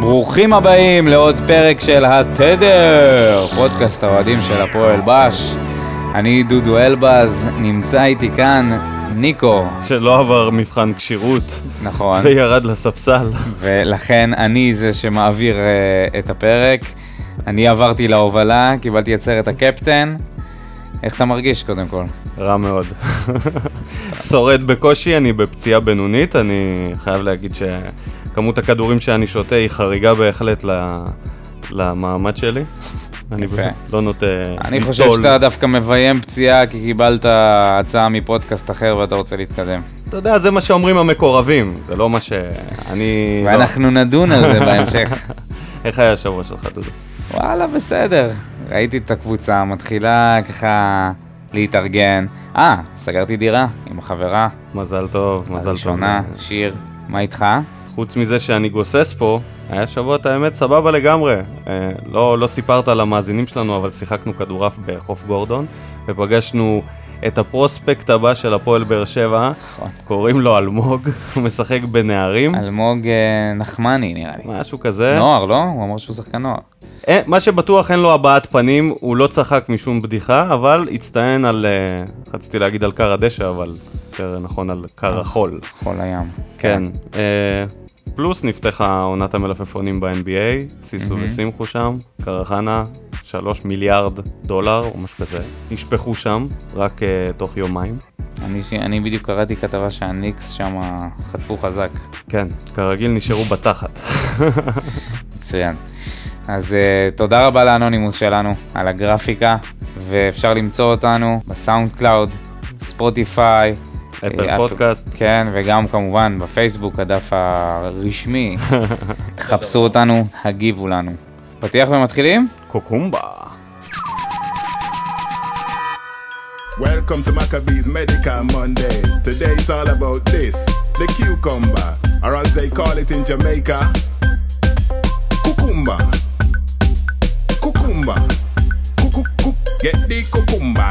ברוכים הבאים לעוד פרק של התדר, פודקאסט האוהדים של הפועל בש. אני דודו אלבז, נמצא איתי כאן ניקו, שלא עבר מבחן כשירות נכון, וירד לספסל. ולכן אני זה שמעביר אה, את הפרק. אני עברתי להובלה, קיבלתי את סרט הקפטן. איך אתה מרגיש קודם כל? רע מאוד. שורד בקושי, אני בפציעה בינונית, אני חייב להגיד שכמות הכדורים שאני שותה היא חריגה בהחלט ל... למעמד שלי. אני יפה. פשוט לא נוטה אני חושב שאתה דווקא מביים פציעה כי קיבלת הצעה מפודקאסט אחר ואתה רוצה להתקדם. אתה יודע, זה מה שאומרים המקורבים, זה לא מה שאני... לא. ואנחנו נדון על זה בהמשך. איך היה השבוע שלך, דודו? וואלה, בסדר. ראיתי את הקבוצה מתחילה ככה להתארגן. אה, סגרתי דירה עם החברה. מזל טוב, מזל טוב. הראשונה, שיר, מה איתך? חוץ מזה שאני גוסס פה, היה שבוע את האמת סבבה לגמרי. אה, לא, לא סיפרת למאזינים שלנו, אבל שיחקנו כדורעף בחוף גורדון, ופגשנו את הפרוספקט הבא של הפועל באר שבע, נכון. קוראים לו אלמוג, הוא משחק בנערים, אלמוג אה, נחמני נראה לי. משהו כזה. נוער, לא? הוא אמר שהוא שחקן נוער. אה, מה שבטוח אין לו הבעת פנים, הוא לא צחק משום בדיחה, אבל הצטיין על, אה, רציתי להגיד על כר הדשא, אבל יותר נכון על כר החול. חול הים. כן. אה, פלוס נפתחה עונת המלפפונים ב-NBA, סיסו מהמם. וסימחו שם, קרחנה, שלוש מיליארד דולר או משהו כזה, נשפכו שם רק אה, תוך יומיים. אני, ש... אני בדיוק קראתי כתבה שהניקס שם חטפו חזק. כן, כרגיל נשארו אה, בתחת. מצוין. אז uh, תודה רבה לאנונימוס שלנו על הגרפיקה, ואפשר למצוא אותנו בסאונד קלאוד, ספוטיפיי. אפל אה, פודקאסט. כן, וגם כמובן בפייסבוק, הדף הרשמי. תחפשו אותנו, הגיבו לנו. פתיח ומתחילים? קוקומבה. Welcome to Maccabees Medical Mondays. Today it's all about this the cucumber, or as they call it in Jamaica, cucumba. Cucumba. Cuckoo. Get the cucumba.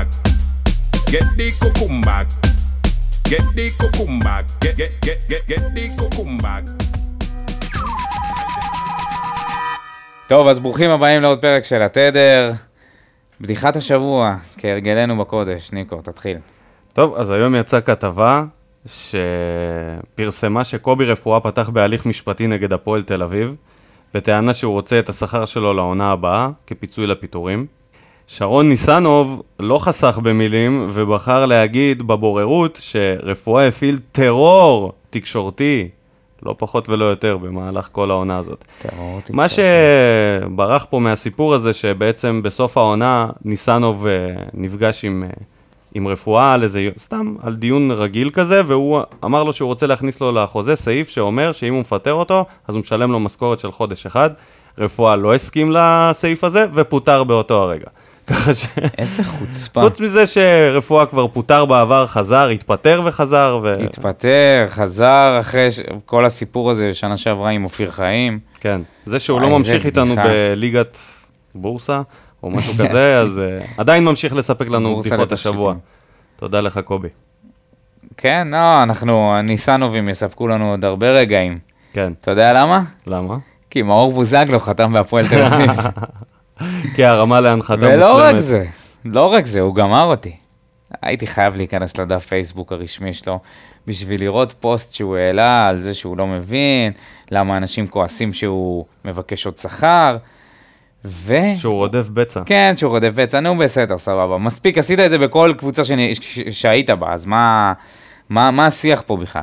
Get the cucumba. Get the cucumba. Get, get, get, get, get the cucumba. טוב, אז ברוכים הבאים לעוד פרק של התדר. בדיחת השבוע, כהרגלנו בקודש. ניקו, תתחיל. טוב, אז היום יצאה כתבה שפרסמה שקובי רפואה פתח בהליך משפטי נגד הפועל תל אביב, בטענה שהוא רוצה את השכר שלו לעונה הבאה, כפיצוי לפיטורים. שרון ניסנוב לא חסך במילים ובחר להגיד בבוררות שרפואה הפעיל טרור תקשורתי, לא פחות ולא יותר, במהלך כל העונה הזאת. טרור מה תקשורתי. שברח פה מהסיפור הזה, שבעצם בסוף העונה ניסנוב אה, נפגש עם, אה, עם רפואה על איזה, סתם, על דיון רגיל כזה, והוא אמר לו שהוא רוצה להכניס לו לחוזה סעיף שאומר שאם הוא מפטר אותו, אז הוא משלם לו משכורת של חודש אחד. רפואה לא הסכים לסעיף הזה, ופוטר באותו הרגע. ככה ש... איזה חוצפה. חוץ מזה שרפואה כבר פוטר בעבר, חזר, התפטר וחזר, ו... התפטר, חזר אחרי ש... כל הסיפור הזה שנה שעברה עם אופיר חיים. כן. זה שהוא וואי, לא זה ממשיך איתנו בדיחה. בליגת בורסה, או משהו כזה, אז אה, עדיין ממשיך לספק לנו בורסה בדיחות לתכשיטים. השבוע. תודה לך, קובי. כן, לא, אנחנו, הניסנובים יספקו לנו עוד הרבה רגעים. כן, אתה יודע למה? למה? כי מאור בוזגלו חתם בהפועל תל אביב. כי הרמה להנחתה מושלמת. ולא רק זה, לא רק זה, הוא גמר אותי. הייתי חייב להיכנס לדף פייסבוק הרשמי שלו בשביל לראות פוסט שהוא העלה על זה שהוא לא מבין, למה אנשים כועסים שהוא מבקש עוד שכר, ו... שהוא רודף בצע. כן, שהוא רודף בצע, נו בסדר, סבבה. מספיק, עשית את זה בכל קבוצה שאני, ש- ש- שהיית בה, אז מה, מה, מה השיח פה בכלל?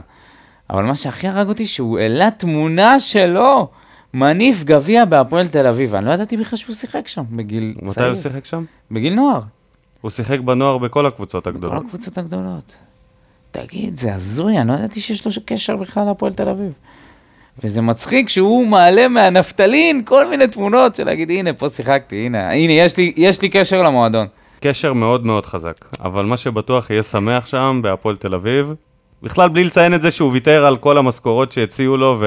אבל מה שהכי הרג אותי, שהוא העלה תמונה שלו, מניף גביע בהפועל תל אביב. אני לא ידעתי בכלל שהוא שיחק שם, בגיל מתי צעיר. הוא שיחק שם? בגיל נוער. הוא שיחק בנוער בכל הקבוצות כל הגדולות. הקבוצות הגדולות. תגיד, זה הזוי, אני לא ידעתי שיש לו קשר בכלל להפועל תל אביב. וזה מצחיק שהוא מעלה מהנפטלין כל מיני תמונות של להגיד, הנה, פה שיחקתי, הנה, הנה, יש לי, יש לי קשר למועדון. קשר מאוד מאוד חזק. אבל מה שבטוח יהיה שמח שם, בהפועל תל אביב. בכלל, בלי לציין את זה שהוא ויתר על כל המשכורות שהציעו לו,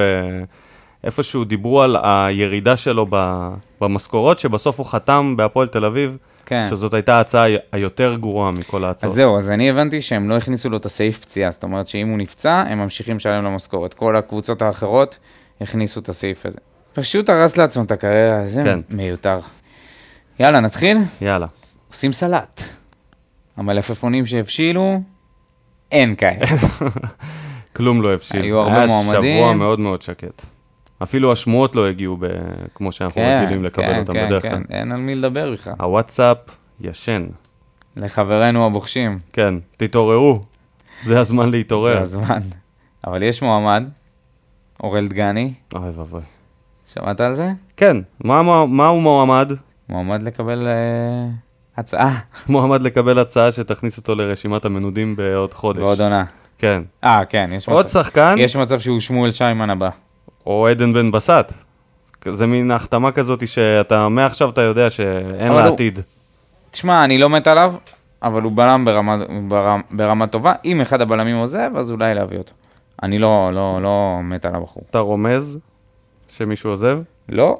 ואיפשהו דיברו על הירידה שלו ב... במשכורות, שבסוף הוא חתם בהפועל תל אביב. כן. שזאת הייתה ההצעה ה- היותר גרועה מכל ההצעות. אז זהו, אז אני הבנתי שהם לא הכניסו לו את הסעיף פציעה, זאת אומרת שאם הוא נפצע, הם ממשיכים לשלם לו משכורת. כל הקבוצות האחרות הכניסו את הסעיף הזה. פשוט הרס לעצמו את הקריירה, זה כן. מיותר. יאללה, נתחיל? יאללה. עושים סלט. המלפפונים שהבשילו, אין כאלה. כלום לא הבשיל. היו הרבה היה שבוע מועמדים. מאוד מאוד שקט. אפילו השמועות לא הגיעו ב... כמו שאנחנו כן, רגילים לקבל אותם בדרך כלל. אין על מי לדבר בכלל. הוואטסאפ ישן. לחברינו הבוחשים, כן, תתעוררו. זה הזמן זה להתעורר. הזמן. אבל יש מועמד, אורל דגני, אוי ואבוי. שמעת על זה? כן, מה, מה, מה הוא מועמד? מועמד לקבל אה, הצעה מועמד לקבל הצעה שתכניס אותו לרשימת המנודים בעוד חודש. בעוד עונה. כן. אה, כן, יש עוד מצב. שחקן, יש מצב שהוא שמואל שיימן הבא. או עדן בן בסט. זה מין החתמה כזאת שאתה, מעכשיו אתה יודע שאין אבל לה הוא- עתיד. תשמע, אני לא מת עליו, אבל הוא בלם ברמה, ברמה, ברמה טובה. אם אחד הבלמים עוזב, אז אולי להביא אותו. אני לא, לא, לא מת על הבחור. אתה רומז שמישהו עוזב? לא,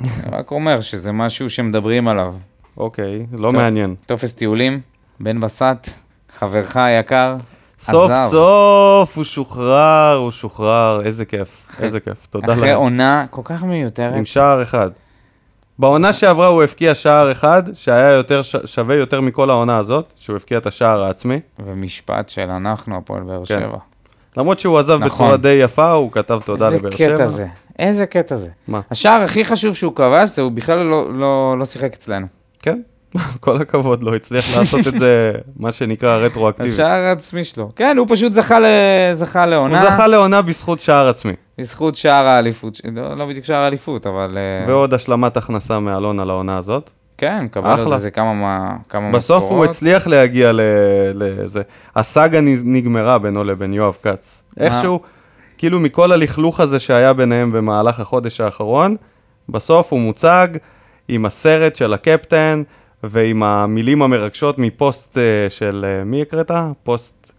אני רק אומר שזה משהו שמדברים עליו. אוקיי, לא כן. מעניין. טופס טיולים, בן בסט, חברך היקר, סוף עזב. סוף הוא שוחרר, הוא שוחרר, איזה כיף, איזה כיף, תודה אחרי לאל. עונה כל כך מיותרת. עם שער אחד. בעונה שעברה הוא הבקיע שער אחד, שהיה יותר ש... שווה יותר מכל העונה הזאת, שהוא הבקיע את השער העצמי. ומשפט של אנחנו, הפועל באר כן. שבע. למרות שהוא עזב נכון. בצורה די יפה, הוא כתב תודה איזה לבאר שבע. קטע זה, איזה קטע זה. מה? השער הכי חשוב שהוא כבש, זה הוא בכלל לא, לא, לא שיחק אצלנו. כן, כל הכבוד לו, הצליח לעשות את זה, מה שנקרא רטרואקטיבי. השער העצמי שלו. כן, הוא פשוט זכה, ל... זכה הוא לעונה, זכה לעונה בזכות שער עצמי, בזכות שער האליפות, ש- לא, לא בדיוק שער האליפות, אבל... אה, ועוד השלמת הכנסה מאלון על העונה הזאת. כן, קבל עוד אחלה. איזה כמה, מה- כמה משכורות. בסוף הוא הצליח להגיע ל- לזה. הסאגה נ- נגמרה בינו לבין יואב כץ. איכשהו, כאילו מכל הלכלוך הזה שהיה ביניהם במהלך החודש האחרון, בסוף הוא מוצג עם הסרט של הקפטן ועם המילים המרגשות מפוסט אה, של, אה, מי הקראת? פוסט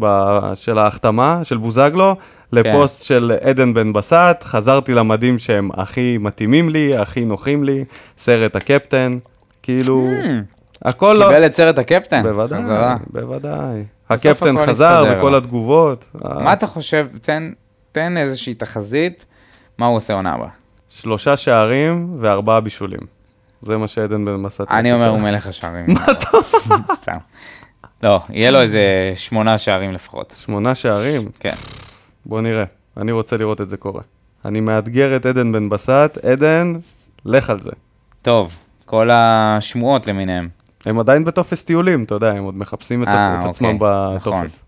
ב- של ההחתמה, של בוזגלו, לפוסט של עדן בן בסט, חזרתי למדים שהם הכי מתאימים לי, הכי נוחים לי, סרט הקפטן, כאילו... הכל לא... קיבל את סרט הקפטן, בוודאי, חזרה. בוודאי. בסוף הקפטן הכל חזר הסתדר. וכל התגובות. מה אתה חושב, תן, תן איזושהי תחזית, מה הוא עושה עונה הבאה. שלושה שערים וארבעה בישולים. זה מה שעדן בן מסת אני אומר, הוא מלך השערים. מה טוב. סתם. לא, יהיה לו איזה שמונה שערים לפחות. שמונה שערים? כן. בוא נראה. אני רוצה לראות את זה קורה. אני מאתגר את עדן בן בסט. עדן, לך על זה. טוב, כל השמועות למיניהם. הם עדיין בטופס טיולים, אתה יודע, הם עוד מחפשים את, אה, את אוקיי, עצמם בטופס.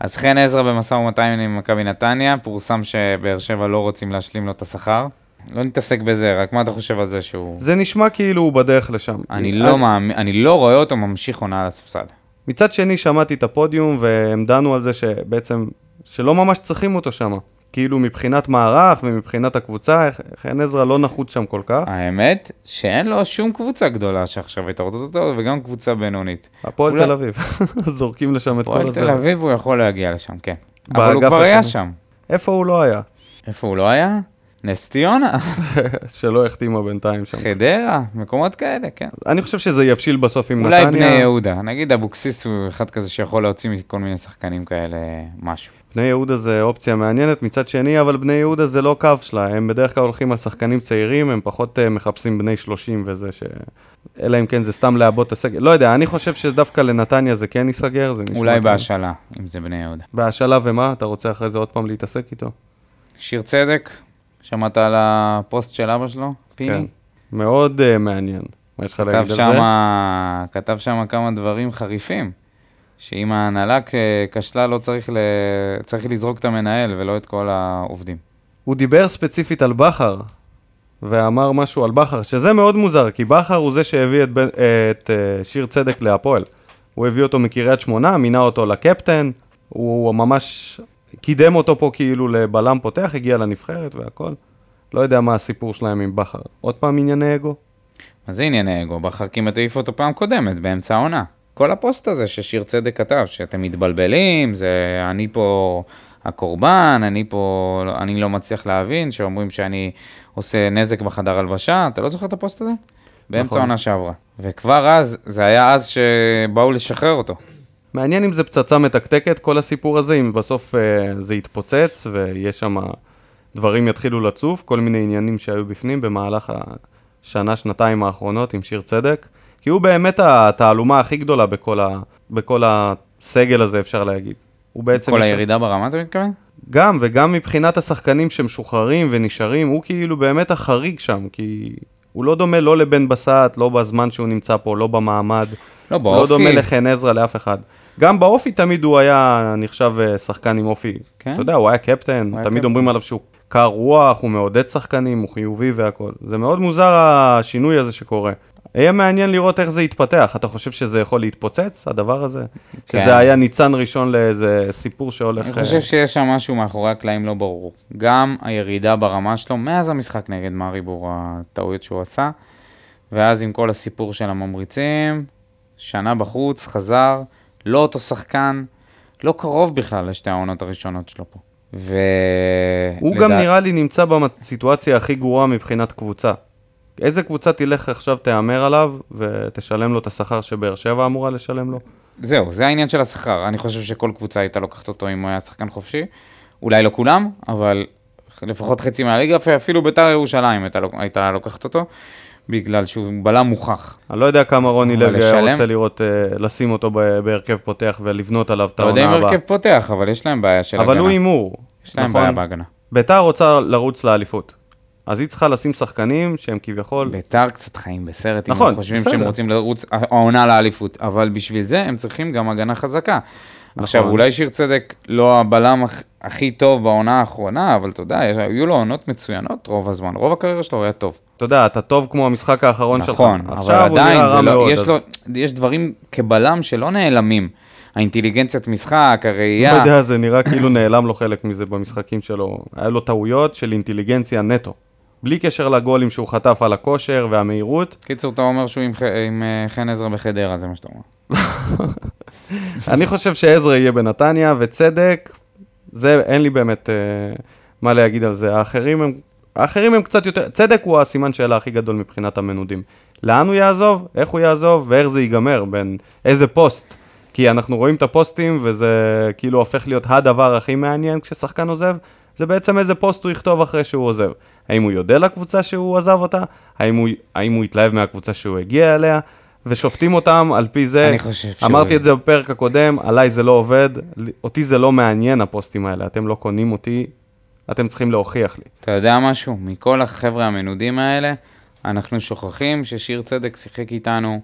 אז חן עזרא במשא ומתן עם מכבי נתניה, פורסם שבאר שבע לא רוצים להשלים לו את השכר. לא נתעסק בזה, רק מה אתה חושב על זה שהוא... זה נשמע כאילו הוא בדרך לשם. אני לא עד- מאמין, אני לא רואה אותו ממשיך עונה על הספסל. מצד שני, שמעתי את הפודיום, והם דנו על זה שבעצם, שלא ממש צריכים אותו שם. כאילו, מבחינת מערך ומבחינת הקבוצה, חן עזרא לא נחוץ שם כל כך. אה, האמת, שאין לו שום קבוצה גדולה שעכשיו היא תרוצה אותו, וגם קבוצה בינונית. הפועל אולי- תל אביב, זורקים לשם את כל פועל הזה. תל אביב הוא יכול להגיע לשם, כן. אבל לא- באגף הוא כבר היה השני. שם. איפה הוא לא היה? איפה הוא לא היה? נס ציונה, שלא החתימה בינתיים שם. חדרה, מקומות כאלה, כן. אני חושב שזה יבשיל בסוף עם אולי בני נתניה. יהודה, נגיד אבוקסיס הוא אחד כזה שיכול להוציא מכל מיני שחקנים כאלה משהו. בני יהודה זה אופציה מעניינת מצד שני, אבל בני יהודה זה לא קו שלה, הם בדרך כלל הולכים על שחקנים צעירים, הם פחות אה, מחפשים בני 30 וזה ש... אלא אם כן זה סתם לעבות את הסגל. לא יודע, אני חושב שדווקא לנתניה זה כן ייסגר, זה נשמע... אולי כאילו- בהשאלה, אם זה בני יהודה. בהשאלה ומה? אתה רוצה אחרי זה עוד פעם להתעסק איתו? שיר צדק, שמעת על הפוסט של אבא שלו, כן. פיני? מאוד אה, מעניין. מה יש לך כתב להגיד על זה? שמה, כתב שם כמה דברים חריפים, שאם ההנהלה כ- כשלה לא צריך, ל... צריך לזרוק את המנהל ולא את כל העובדים. הוא דיבר ספציפית על בכר, ואמר משהו על בכר, שזה מאוד מוזר, כי בכר הוא זה שהביא את, בן- אה, את אה, שיר צדק להפועל. הוא הביא אותו מקריית שמונה, מינה אותו לקפטן, הוא ממש קידם אותו פה כאילו לבלם פותח, הגיע לנבחרת והכל. לא יודע מה הסיפור שלהם עם בכר. עוד פעם ענייני אגו? אז זה ענייני אגו, בכר כמעט העיף אותו פעם קודמת, באמצע העונה. כל הפוסט הזה ששיר צדק כתב, שאתם מתבלבלים, זה אני פה הקורבן, אני פה, אני לא מצליח להבין, שאומרים שאני עושה נזק בחדר הלבשה, אתה לא זוכר את הפוסט הזה? באמצע נכון. העונה שעברה. וכבר אז, זה היה אז שבאו לשחרר אותו. מעניין אם זה פצצה מתקתקת, כל הסיפור הזה, אם בסוף אה, זה יתפוצץ ויש שם דברים יתחילו לצוף, כל מיני עניינים שהיו בפנים במהלך השנה, שנתיים האחרונות עם שיר צדק, כי הוא באמת התעלומה הכי גדולה בכל, ה, בכל הסגל הזה, אפשר להגיד. הוא בעצם... כל יש- הירידה ברמה, אתה מתכוון? גם, וגם מבחינת השחקנים שמשוחררים ונשארים, הוא כאילו באמת החריג שם, כי הוא לא דומה לא לבן בסט, לא בזמן שהוא נמצא פה, לא במעמד. לא, לא באופי. דומה לחן עזרא לאף אחד. גם באופי תמיד הוא היה נחשב אה, שחקן עם אופי. כן? אתה יודע, הוא היה קפטן, היה תמיד קפטן. אומרים עליו שהוא קר רוח, הוא מעודד שחקנים, הוא חיובי והכול. זה מאוד מוזר השינוי הזה שקורה. יהיה מעניין לראות איך זה יתפתח. אתה חושב שזה יכול להתפוצץ, הדבר הזה? כן. שזה היה ניצן ראשון לאיזה סיפור שהולך... אני אה, חושב שיש שם משהו מאחורי הקלעים לא ברור. גם הירידה ברמה שלו, מאז המשחק נגד מאריבור, הטעויות שהוא עשה, ואז עם כל הסיפור של הממריצים, שנה בחוץ, חזר, לא אותו שחקן, לא קרוב בכלל לשתי העונות הראשונות שלו פה. ו... הוא לדע- גם נראה לי נמצא בסיטואציה הכי גרועה מבחינת קבוצה. איזה קבוצה תלך עכשיו, תהמר עליו, ותשלם לו את השכר שבאר שבע אמורה לשלם לו? זהו, זה העניין של השכר. אני חושב שכל קבוצה הייתה לוקחת אותו אם הוא היה שחקן חופשי. אולי לא כולם, אבל לפחות חצי מהליגה, אפילו ביתר ירושלים הייתה, לוק- הייתה לוקחת אותו, בגלל שהוא בלם מוכח. אני לא יודע כמה רוני אבל לוי לשלם? היה רוצה לראות, אה, לשים אותו ב- בהרכב פותח ולבנות עליו את אתה לא יודע העונה אם הבאה. הרכב פותח, אבל יש להם בעיה של הגנה. אבל הוא הימור, יש להם בעיה נכון? בהגנה. ביתר רוצה לרוץ לאליפות. אז היא צריכה לשים שחקנים שהם כביכול... ביתר קצת חיים בסרט, אם נכון, הם חושבים בסדר. שהם רוצים לרוץ העונה לאליפות, אבל בשביל זה הם צריכים גם הגנה חזקה. נכון. עכשיו, אולי שיר צדק לא הבלם הכ- הכי טוב בעונה האחרונה, אבל אתה יודע, יש- היו לו עונות מצוינות רוב הזמן, רוב הקריירה שלו היה טוב. אתה יודע, אתה טוב כמו המשחק האחרון שלך. נכון, אבל עכשיו הוא נראה עדיין, זה רע לא- מאוד, יש אז- לו- יש דברים כבלם שלא נעלמים. האינטליגנציית משחק, לא הראייה, יודע, זה נראה כאילו נעלם לו חלק מזה במשחקים שלו. היה לו טעויות של אינטליגנציה נטו. בלי קשר לגולים שהוא חטף על הכושר והמהירות. קיצור, אתה אומר שהוא עם ח- עם אה, חן עזרא בחדרה, זה מה שאתה אומר. אני חושב שעזרא יהיה בנתניה, וצדק, זה, אין לי באמת אה, מה להגיד על זה. האחרים הם, האחרים הם קצת יותר, צדק הוא הסימן שאלה הכי גדול מבחינת המנודים. לאן הוא יעזוב, איך הוא יעזוב, ואיך זה ייגמר, בין איזה פוסט. כי אנחנו רואים את הפוסטים, וזה כאילו הופך להיות הדבר הכי מעניין כששחקן עוזב, זה בעצם איזה פוסט הוא יכתוב אחרי שהוא עוזב. האם הוא יודע לקבוצה שהוא עזב אותה? האם הוא, האם הוא התלהב מהקבוצה שהוא הגיע אליה? ושופטים אותם על פי זה. אני חושב שהוא- אמרתי את זה בפרק הקודם, עליי זה לא עובד, לי- אותי זה לא מעניין הפוסטים האלה, אתם לא קונים אותי, אתם צריכים להוכיח לי. אתה יודע משהו? מכל החבר'ה המנודים האלה, אנחנו שוכחים ששיר צדק שיחק איתנו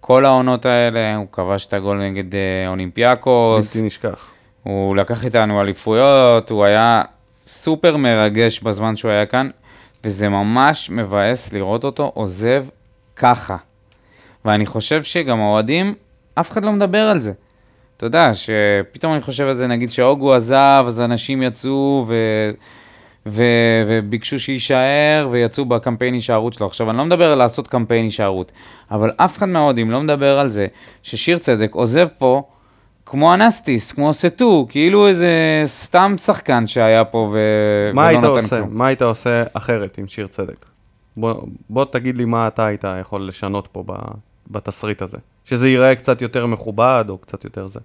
כל העונות האלה, הוא כבש את הגול נגד אה, אולימפיאקוס, בלתי נשכח. הוא לקח איתנו אליפויות, הוא היה סופר מרגש בזמן שהוא היה כאן, וזה ממש מבאס לראות אותו עוזב ככה. ואני חושב שגם האוהדים, אף אחד לא מדבר על זה. אתה יודע, שפתאום אני חושב על זה, נגיד שהוגו עזב, אז אנשים יצאו ו... ו... וביקשו שיישאר, ויצאו בקמפיין הישארות שלו. עכשיו, אני לא מדבר על לעשות קמפיין הישארות, אבל אף אחד מהאוהדים לא מדבר על זה ששיר צדק עוזב פה כמו אנסטיס, כמו סטו, כאילו איזה סתם שחקן שהיה פה ו... מה ולא היית נתן עושה? לא כלום. מה היית עושה אחרת עם שיר צדק? בוא, בוא תגיד לי מה אתה היית יכול לשנות פה ב, בתסריט הזה. שזה ייראה קצת יותר מכובד, או קצת יותר זה.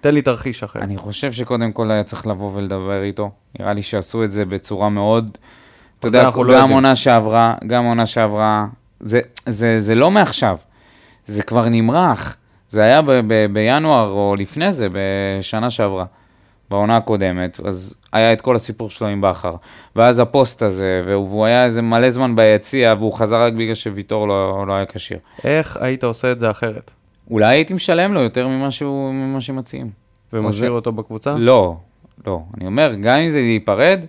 תן לי תרחיש אחר. אני חושב שקודם כל היה צריך לבוא ולדבר איתו. נראה לי שעשו את זה בצורה מאוד... אתה יודע, אנחנו לא גם יודעים. עונה שעברה, גם עונה שעברה, זה, זה, זה לא מעכשיו, זה כבר נמרח. זה היה ב, ב, בינואר או לפני זה, בשנה שעברה, בעונה הקודמת, אז היה את כל הסיפור שלו עם בכר. ואז הפוסט הזה, והוא והוא היה איזה מלא זמן ביציע, והוא חזר רק בגלל שוויטור לא, לא היה כשיר. איך היית עושה את זה אחרת? אולי הייתי משלם לו יותר ממה, שהוא, ממה שמציעים. ומשאיר עוזר- אותו בקבוצה? לא, לא. אני אומר, גם אם זה להיפרד,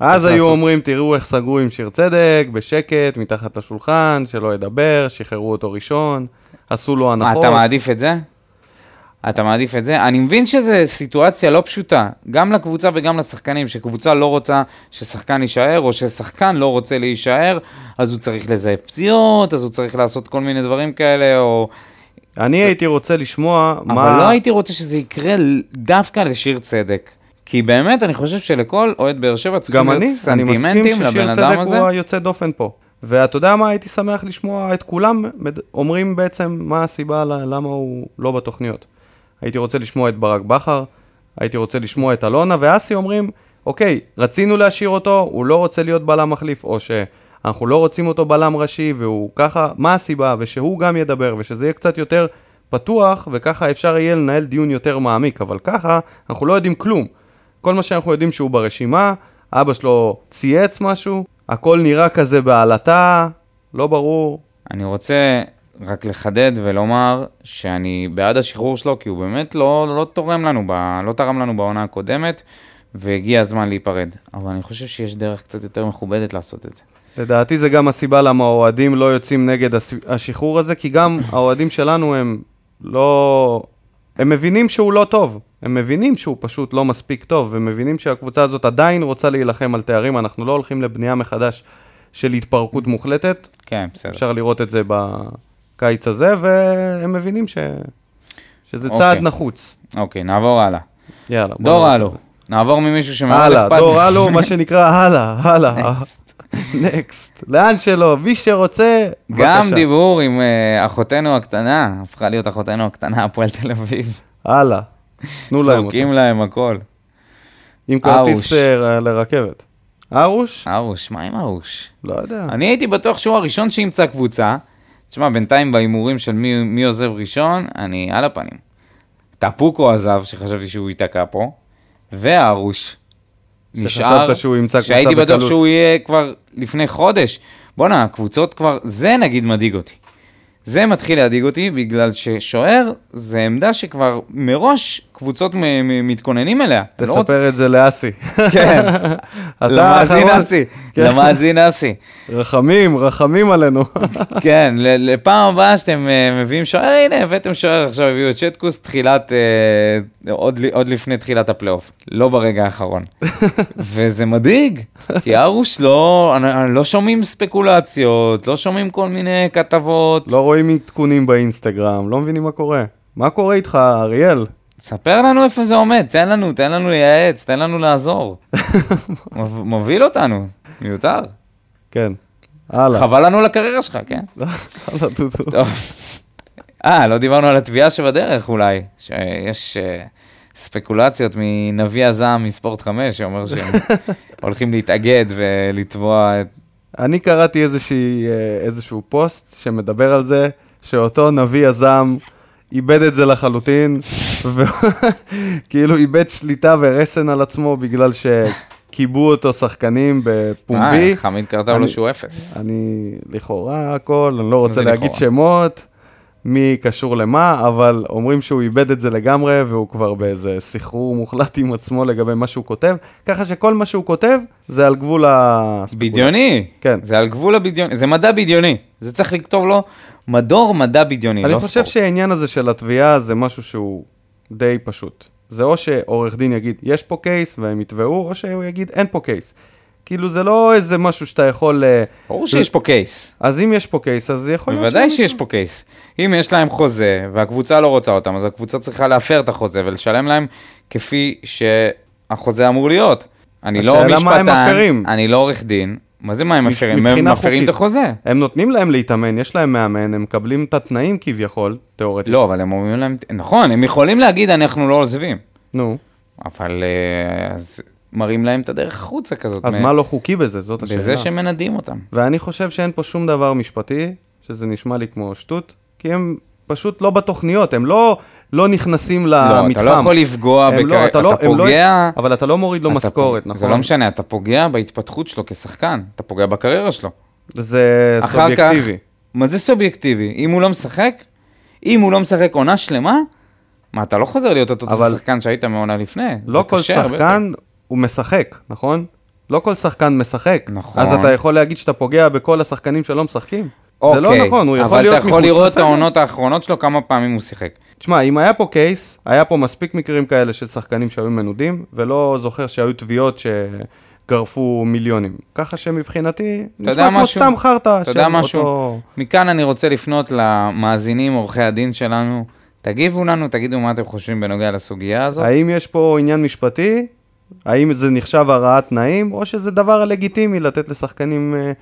אז צריך היו לעשות. אומרים, תראו איך סגרו עם שיר צדק, בשקט, מתחת לשולחן, שלא ידבר, שחררו אותו ראשון, עשו לו מה, הנחות. אתה מעדיף את זה? אתה מעדיף את זה? אני מבין שזו סיטואציה לא פשוטה, גם לקבוצה וגם לשחקנים, שקבוצה לא רוצה ששחקן יישאר, או ששחקן לא רוצה להישאר, אז הוא צריך לזייף פציעות, אז הוא צריך לעשות כל מיני דברים כאלה, או... אני הייתי רוצה לשמוע מה... אבל לא הייתי רוצה שזה יקרה ל- דווקא לשיר צדק. כי באמת, אני חושב שלכל אוהד באר שבע צריכים גם להיות אני, אני מסכים סנטימנטים לבן ששיר אדם הזה. צדק הוא היוצא דופן פה. ואתה יודע מה, הייתי שמח לשמוע את כולם מד- אומרים בעצם מה הסיבה ל- למה הוא לא בתוכניות. הייתי רוצה לשמוע את ברק בכר, הייתי רוצה לשמוע את אלונה ואסי אומרים, אוקיי, רצינו להשאיר אותו, הוא לא רוצה להיות בלם מחליף, או שאנחנו לא רוצים אותו בלם ראשי, והוא ככה, מה הסיבה, ושהוא גם ידבר, ושזה יהיה קצת יותר פתוח, וככה אפשר יהיה לנהל דיון יותר מעמיק, אבל ככה, אנחנו לא יודעים כלום. כל מה שאנחנו יודעים שהוא ברשימה, אבא שלו צייץ משהו, הכל נראה כזה בעלטה, לא ברור. אני רוצה רק לחדד ולומר שאני בעד השחרור שלו, כי הוא באמת לא, לא תורם לנו, ב, לא תרם לנו בעונה הקודמת, והגיע הזמן להיפרד. אבל אני חושב שיש דרך קצת יותר מכובדת לעשות את זה. לדעתי זה גם הסיבה למה האוהדים לא יוצאים נגד הס- השחרור הזה, כי גם האוהדים שלנו הם לא... הם מבינים שהוא לא טוב. הם מבינים שהוא פשוט לא מספיק טוב, ומבינים שהקבוצה הזאת עדיין רוצה להילחם על תארים, אנחנו לא הולכים לבנייה מחדש של התפרקות מוחלטת. כן, בסדר. אפשר לראות את זה בקיץ הזה, והם מבינים ש... שזה אוקיי. צעד נחוץ. אוקיי, נעבור הלאה. יאללה. בוא דור נעבור הלו. נעבור ממישהו שמאוד אכפת. הלאה, דור הלו, מה שנקרא, הלאה, הלאה. נקסט. לאן שלא, מי שרוצה, גם בבקשה. דיבור עם אה, אחותנו הקטנה, הפכה להיות אחותנו הקטנה, הפועל תל אביב. הלאה. תנו להם אותו. סורקים להם הכל. עם ארוש. כרטיס אה, לרכבת. ארוש? ארוש, מה עם ארוש? לא יודע. אני הייתי בטוח שהוא הראשון שימצא קבוצה. תשמע, בינתיים בהימורים של מי, מי עוזב ראשון, אני על הפנים. טפוקו עזב, שחשבתי שהוא ייתקע פה, והארוש נשאר. שחשבת שהוא ימצא קבוצה שהייתי בטוח בקלות. שהוא יהיה כבר לפני חודש. בואנה, הקבוצות כבר, זה נגיד מדאיג אותי. זה מתחיל להדאיג אותי, בגלל ששוער זה עמדה שכבר מראש קבוצות מ- מ- מתכוננים אליה. הם לא רוצים- תספר את זה לאסי. כן, אתה למאזין האחרון. אסי. כן. למאזין אסי. רחמים, רחמים עלינו. כן, ל- לפעם הבאה שאתם אה, מביאים שוער, הנה, הבאתם שוער, עכשיו הביאו את שטקוס, תחילת, אה, עוד, ל- עוד לפני תחילת הפלייאוף, לא ברגע האחרון. וזה מדאיג, כי ארוש לא, אני- אני- לא שומעים ספקולציות, לא שומעים כל מיני כתבות. לא רואים עדכונים באינסטגרם, לא מבינים מה קורה. מה קורה איתך, אריאל? ספר לנו איפה זה עומד, תן לנו, תן לנו לייעץ, תן לנו לעזור. מוב- מוביל אותנו, מיותר. כן. הלאה. חבל לנו לקריירה שלך, כן? הלאה, דודו. טוב. אה, לא דיברנו על התביעה שבדרך אולי, שיש אה, ספקולציות מנביא הזעם מספורט 5, שאומר שהם הולכים להתאגד ולתבוע את... אני קראתי איזושהי, אה, איזשהו פוסט שמדבר על זה, שאותו נביא יזם איבד את זה לחלוטין, וכאילו איבד שליטה ורסן על עצמו בגלל שכיבו אותו שחקנים בפומבי. אה, חמיד קרטאו לו אני- שהוא אפס. אני לכאורה הכל, אני לא רוצה זה להגיד לכאורה? שמות, מי קשור למה, אבל אומרים שהוא איבד את זה לגמרי, והוא כבר באיזה סחרור מוחלט עם עצמו לגבי מה שהוא כותב, ככה שכל מה שהוא כותב זה על גבול הספקולציה. בדיוני. כן. זה על גבול הבדיוני, זה מדע בדיוני. זה צריך לכתוב לו מדור מדע בדיוני, אני לא חושב ספורט. שהעניין הזה של התביעה זה משהו שהוא די פשוט. זה או שעורך דין יגיד, יש פה קייס והם יתבעו, או שהוא יגיד, אין פה קייס. כאילו זה לא איזה משהו שאתה יכול... אה, ברור שיש פה קייס. אז אם יש פה קייס, אז יכול להיות... בוודאי שהם- שיש פה קייס. אם יש להם חוזה, והקבוצה לא רוצה אותם, אז הקבוצה צריכה להפר את החוזה ולשלם להם כפי שהחוזה אמור להיות. אני לא השאלה מה הם משפטן, מפרים. אני לא עורך דין. מה זה מה הם מש- מפרים? הם מבחינה מפרים את חוקית. החוזה. הם נותנים להם להתאמן, יש להם מאמן, הם מקבלים את התנאים כביכול, תיאורטית. לא, אבל הם אומרים להם, נכון, הם יכולים להגיד אנחנו לא עוזבים, נו, אבל אה, אז מראים להם את הדרך החוצה כזאת. אז מ- מה לא חוקי בזה? זאת השאלה. בזה שמנדים אותם. ואני חושב שאין פה שום דבר משפטי, שזה נשמע לי כמו שטות, כי הם פשוט לא בתוכניות, הם לא, לא נכנסים למתחם. לא, אתה לא יכול לפגוע, הם בכ- לא, אתה, לא, אתה הם לא- פוגע. אבל אתה לא מוריד לו אתה משכורת, פוג- נכון? זה לא משנה, אתה פוגע בהתפתחות שלו כשחקן, אתה פוגע בקריירה שלו. זה אחר סובייקטיבי. כך, מה זה סובייקטיבי? אם הוא לא משחק, אם הוא לא משחק עונה שלמה, מה, אתה לא חוזר להיות אותו אבל- שחקן שהיית מעונה לפני. לא זה כל קשה הרבה שחקן הוא משחק, נכון? לא כל שחקן משחק. נכון. אז אתה יכול להגיד שאתה פוגע בכל השחקנים שלא משחקים? יותר. זה לא אוקיי, נכון, הוא יכול אבל להיות אתה מחוץ יכול לראות את לסגל. העונות האחרונות שלו כמה פעמים הוא שיחק. תשמע, אם היה פה קייס, היה פה מספיק מקרים כאלה של שחקנים שהיו מנודים, ולא זוכר שהיו תביעות שגרפו מיליונים. ככה שמבחינתי, יודע נשמע כמו משהו? סתם חרטא אתה של יודע משהו? אותו... מכאן אני רוצה לפנות למאזינים, עורכי הדין שלנו. תגיבו לנו, תגידו מה אתם חושבים בנוגע לסוגיה הזאת. האם יש פה עניין משפטי? האם זה נחשב הרעת תנאים? או שזה דבר לגיטימי לתת לשחקנים אה,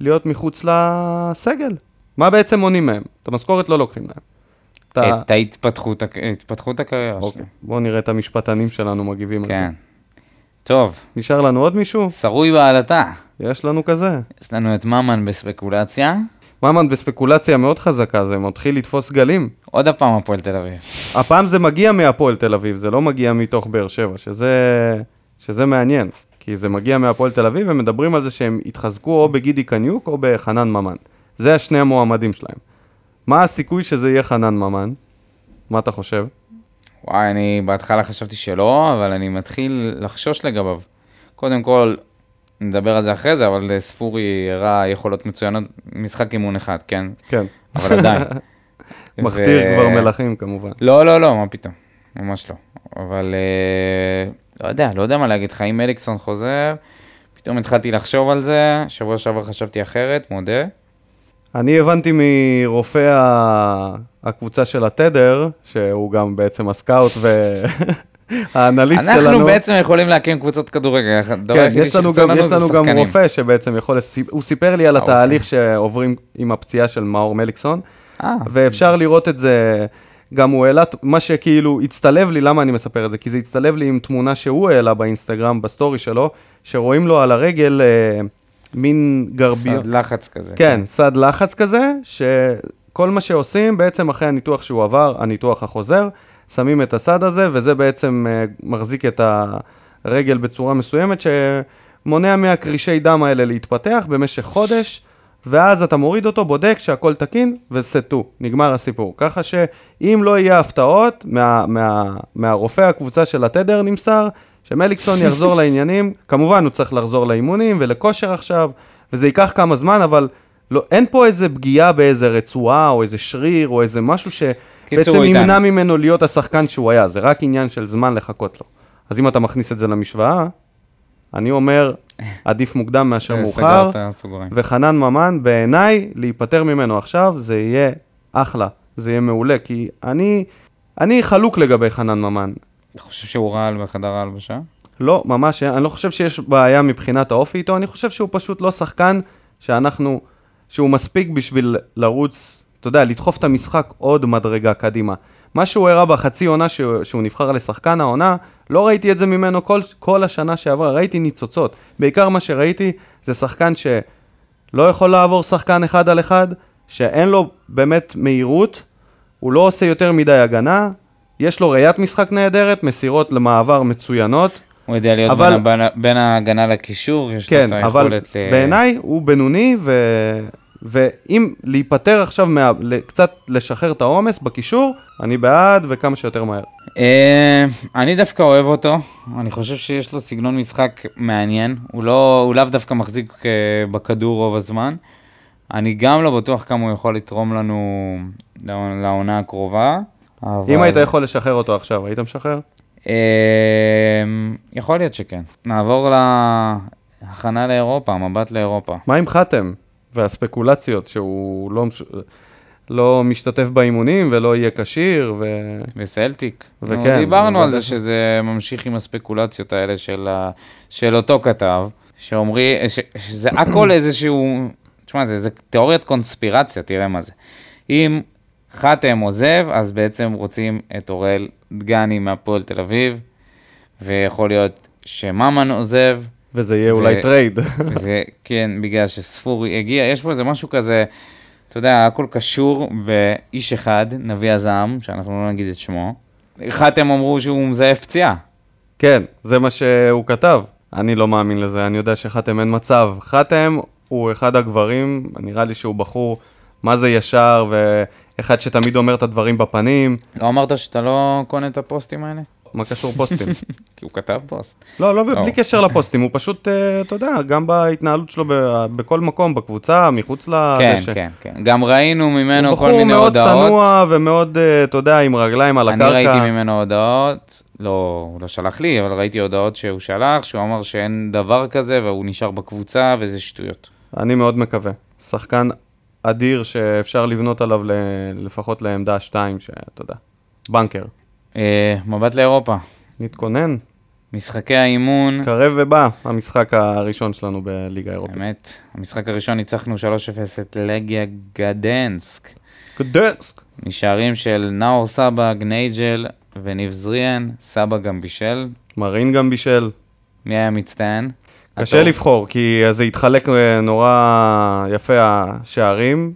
להיות מחוץ לסגל? מה בעצם מונעים מהם? את המשכורת לא לוקחים להם. אתה... את ההתפתחות, הק- התפתחות הקריירה שלו. אוקיי, בואו נראה את המשפטנים שלנו מגיבים על כן. זה. טוב, נשאר לנו עוד מישהו? שרוי בעלתה. יש לנו כזה. יש לנו את ממן בספקולציה. ממן בספקולציה מאוד חזקה, זה מתחיל לתפוס גלים. עוד הפעם הפועל תל אביב. הפעם זה מגיע מהפועל תל אביב, זה לא מגיע מתוך באר שבע, שזה, שזה מעניין. כי זה מגיע מהפועל תל אביב, ומדברים על זה שהם התחזקו או בגידי קניוק או בחנן ממן. זה השני המועמדים שלהם. מה הסיכוי שזה יהיה חנן ממן? מה אתה חושב? וואי, אני בהתחלה חשבתי שלא, אבל אני מתחיל לחשוש לגביו. קודם כל, נדבר על זה אחרי זה, אבל אה, ספורי הראה יכולות מצוינות, משחק אימון אחד, כן? כן. אבל עדיין. מכתיר ו- כבר מלכים כמובן. לא, לא, לא, מה פתאום, ממש לא. אבל אה, לא יודע, לא יודע מה להגיד לך, אם אליקסון חוזר, פתאום התחלתי לחשוב על זה, שבוע שעבר חשבתי אחרת, מודה. אני הבנתי מרופא ה- הקבוצה של התדר, שהוא גם בעצם הסקאוט והאנליסט שלנו. אנחנו בעצם יכולים להקים קבוצת כדורגל, הדבר כן, היחידי יש לנו שחסר גם, יש זה לנו גם שחקנים. רופא שבעצם יכול, לסי- הוא סיפר לי על הרופא. התהליך שעוברים עם הפציעה של מאור מליקסון, אה, ואפשר לראות את זה, גם הוא העלה, ת- מה שכאילו הצטלב לי, למה אני מספר את זה? כי זה הצטלב לי עם תמונה שהוא העלה באינסטגרם, בסטורי שלו, שרואים לו על הרגל אה, מין גרביון. סד לחץ כזה. כן, סד לחץ כזה, שכל מה שעושים בעצם אחרי הניתוח שהוא עבר, הניתוח החוזר, שמים את הסד הזה, וזה בעצם אה, מחזיק את הרגל בצורה מסוימת, שמונע מהקרישי דם האלה להתפתח במשך חודש, ואז אתה מוריד אותו, בודק שהכל תקין, וסטו, נגמר הסיפור. ככה שאם לא יהיה הפתעות, מה, מה, מהרופא הקבוצה של התדר נמסר, שמליקסון יחזור לעניינים, כמובן הוא צריך לחזור לאימונים ולכושר עכשיו, וזה ייקח כמה זמן, אבל לא, אין פה איזה פגיעה באיזה רצועה, או איזה שריר, או איזה משהו שבעצם הוא איתנו. ימנע ממנו להיות השחקן שהוא היה, זה רק עניין של זמן לחכות לו. אז אם אתה מכניס את זה למשוואה, אני אומר, עדיף מוקדם אה, מאשר מאוחר, סגרת סוגריים. וחנן ממן, בעיניי, להיפטר ממנו עכשיו, זה יהיה אחלה, זה יהיה מעולה, כי אני, אני חלוק לגבי חנן ממן. אתה חושב שהוא רעל בחדר ההלבשה? לא, ממש, אני לא חושב שיש בעיה מבחינת האופי איתו, אני חושב שהוא פשוט לא שחקן שאנחנו, שהוא מספיק בשביל לרוץ, אתה יודע, לדחוף את המשחק עוד מדרגה קדימה. מה שהוא הראה בחצי עונה שהוא, שהוא נבחר לשחקן העונה, לא ראיתי את זה ממנו כל, כל השנה שעברה, ראיתי ניצוצות. בעיקר מה שראיתי זה שחקן ש... לא יכול לעבור שחקן אחד על אחד, שאין לו באמת מהירות, הוא לא עושה יותר מדי הגנה, יש לו ראיית משחק נהדרת, מסירות למעבר מצוינות, הוא יודע להיות אבל- בין, ה- בין ההגנה לקישור, יש כן, לו את אה, אבל היכולת... ל- בעיניי הוא בינוני, ו... ואם להיפטר עכשיו, מה... ל- קצת לשחרר את העומס בקישור, אני בעד וכמה שיותר מהר. אה, אני דווקא אוהב אותו, אני חושב שיש לו סגנון משחק מעניין, הוא, לא, הוא לאו דווקא מחזיק אה, בכדור רוב הזמן. אני גם לא בטוח כמה הוא יכול לתרום לנו לעונה- לעונה הקרובה. אבל... אם היית יכול לשחרר אותו עכשיו, היית משחרר? אה, יכול להיות שכן. נעבור להכנה לאירופה, מבט לאירופה. מה עם חתם והספקולציות שהוא לא, מש... לא משתתף באימונים ולא יהיה כשיר? ו... וסלטיק. וכן, וכן. דיברנו על בדרך זה כלל. שזה ממשיך עם הספקולציות האלה של, ה... של אותו כתב, שאומרי, ש... שזה הכל איזשהו, תשמע, זה, זה תיאוריית קונספירציה, תראה מה זה. אם חתם עוזב, אז בעצם רוצים את אוראל דגני מהפועל תל אביב, ויכול להיות שממן עוזב, וזה יהיה אולי ו- טרייד. זה כן, בגלל שספורי הגיע, יש פה איזה משהו כזה, אתה יודע, הכל קשור באיש אחד, נביא הזעם, שאנחנו לא נגיד את שמו. חתם אמרו שהוא מזייף פציעה. כן, זה מה שהוא כתב. אני לא מאמין לזה, אני יודע שחתם אין מצב. חתם הוא אחד הגברים, נראה לי שהוא בחור מה זה ישר, ואחד שתמיד אומר את הדברים בפנים. לא אמרת שאתה לא קונה את הפוסטים האלה? מה קשור פוסטים? כי הוא כתב פוסט. לא, לא, לא. בלי קשר לפוסטים, הוא פשוט, אה, אתה יודע, גם בהתנהלות שלו ב- בכל מקום, בקבוצה, מחוץ כן, לדשא. כן, כן. גם ראינו ממנו כל בחור מיני מאוד הודעות. צנוע ומאוד, אה, אתה יודע, עם רגליים על אני הקרקע. ראיתי ממנו הודעות, לא, הוא לא שלח לי, אבל ראיתי הודעות שהוא שלח, שהוא אמר שאין דבר כזה והוא נשאר בקבוצה וזה שטויות. אני מאוד מקווה. שחקן אדיר שאפשר לבנות עליו ל... לפחות לעמדה 2, שאתה יודע, בנקר. אה, מבט לאירופה, נתכונן, משחקי האימון. קרב ובא המשחק הראשון שלנו בליגה האירופית. האמת, המשחק הראשון ניצחנו 3-0 את לגיה גדנסק. קדסק! משערים של נאור סבג, נייג'ל וניב זריאן, סבג גם בישל. מרין גם בישל, מי היה מצטיין? קשה לבחור, כי אז זה התחלק אה, נורא יפה השערים.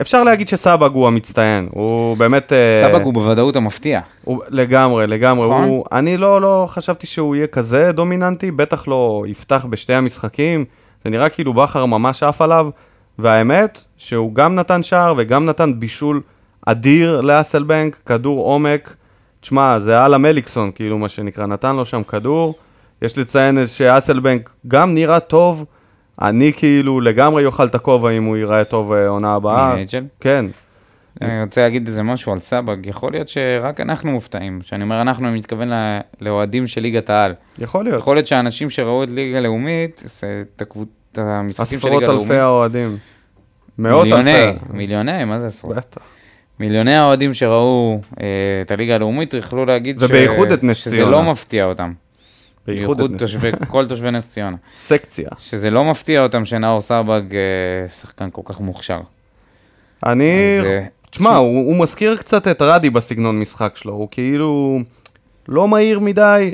אפשר להגיד שסבג הוא המצטיין, הוא באמת... אה, סבג הוא בוודאות המפתיע. הוא... לגמרי, לגמרי. נכון. הוא... אני לא, לא חשבתי שהוא יהיה כזה דומיננטי, בטח לא יפתח בשתי המשחקים. זה נראה כאילו בכר ממש עף עליו, והאמת שהוא גם נתן שער וגם נתן בישול אדיר לאסלבנק, כדור עומק. תשמע, זה אהלן מליקסון, כאילו, מה שנקרא, נתן לו שם כדור. יש לציין שאסלבנק גם נראה טוב. אני כאילו לגמרי אוכל את הכובע אם הוא ייראה טוב אה, עונה הבאה. אה, אג'ל? כן. אני רוצה להגיד איזה משהו על סבג, יכול להיות שרק אנחנו מופתעים. כשאני אומר אנחנו, אני מתכוון ל- לאוהדים של ליגת העל. יכול להיות. יכול להיות שאנשים שראו את ליגה לאומית, זה את הקבוצ- את המשחקים של עשרות ליגה לאומית. אלפי האוהדים. מאות מיליוני, אלפי. מיליוני, מה זה עשרות? בטח. מיליוני האוהדים שראו אה, את הליגה הלאומית יכלו להגיד ובייחוד את נס שזה ציונה. לא מפתיע אותם. בייחוד את נס- תושבי, כל תושבי נס ציונה. סקציה. שזה לא מפתיע אותם שנאור סרבג אה, שחקן כל כך מוכשר. אני... אז, אה, תשמע, הוא הוא מזכיר קצת את רדי בסגנון משחק שלו. הוא כאילו לא מהיר מדי,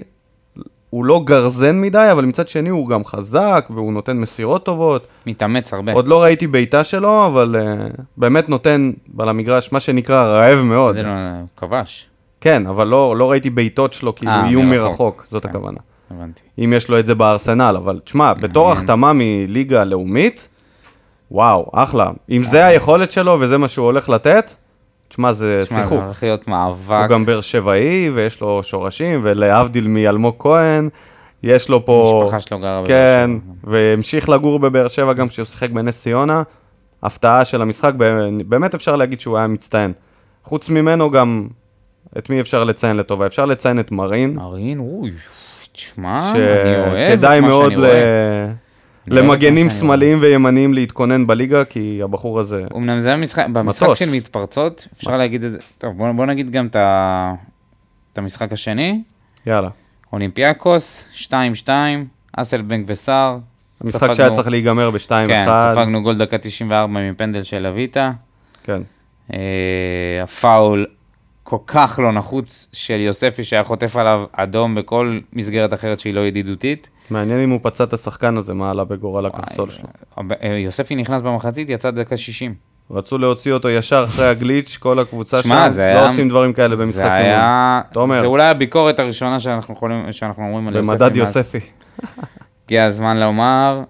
הוא לא גרזן מדי, אבל מצד שני הוא גם חזק, והוא נותן מסירות טובות. מתאמץ הרבה. עוד לא ראיתי בעיטה שלו, אבל אה, באמת נותן על המגרש, מה שנקרא, רעב מאוד. זה לא, הוא כבש, כן, אבל לא לא ראיתי בעיטות שלו, כאילו אה, איום מרחוק. מרחוק, זאת כן. הכוונה. הבנתי. אם יש לו את זה בארסנל, אבל תשמע, Mm-hmm. בתור החתמה מליגה לאומית, וואו, אחלה. אם אה. זה היכולת שלו וזה מה שהוא הולך לתת, תשמע, זה תשמע, זה שיחוק. הולך להיות הוא מאבק. גם באר שבעי, ויש לו שורשים, ולהבדיל מאלמוג כהן, יש לו פה... המשפחה שלו גרה בבאר לא- כן, שבע. והמשיך לגור בבאר שבע גם כשהוא שיחק בנס ציונה. הפתעה של המשחק, ב- באמת אפשר להגיד שהוא היה מצטיין. חוץ ממנו גם, את מי אפשר לציין לטובה? אפשר לציין את מרין. מרין, אוי, תשמע, אה, אני אוהב את שכדאי מה מאוד שאני ל... רואה. אני אוהב את לא מה למגנים שאני שמאליים וימניים להתכונן בליגה, כי הבחור הזה... אמנם זה המשחק, במשחק מטוס. של מתפרצות, אפשר להגיד את זה, טוב, בוא, בוא נגיד גם את ה- את המשחק השני, יאללה. אולימפיאקוס, 2-2, אסלבנק וסער. המשחק ספגנו- שהיה צריך להיגמר ב-2-1. כן, ספגנו גול דקה 94 מפנדל של לויטה. כן. אה, הפאול כל כך לא נחוץ של יוספי, שהיה חוטף עליו אדום בכל מסגרת אחרת שהיא לא ידידותית. מעניין אם הוא פצע את השחקן הזה, מה עלה בגורל הקרסול שלו. אה, יוספי נכנס במחצית, יצא דקה 60. רצו להוציא אותו ישר אחרי הגליץ', כל הקבוצה שם, שמע, זה היה... לא עושים דברים כאלה במשחק זה אימון. היה... תומר. זה אולי הביקורת הראשונה שאנחנו, יכולים, שאנחנו אומרים על יוספי. במדד מאז- יוספי. הגיע הזמן לומר...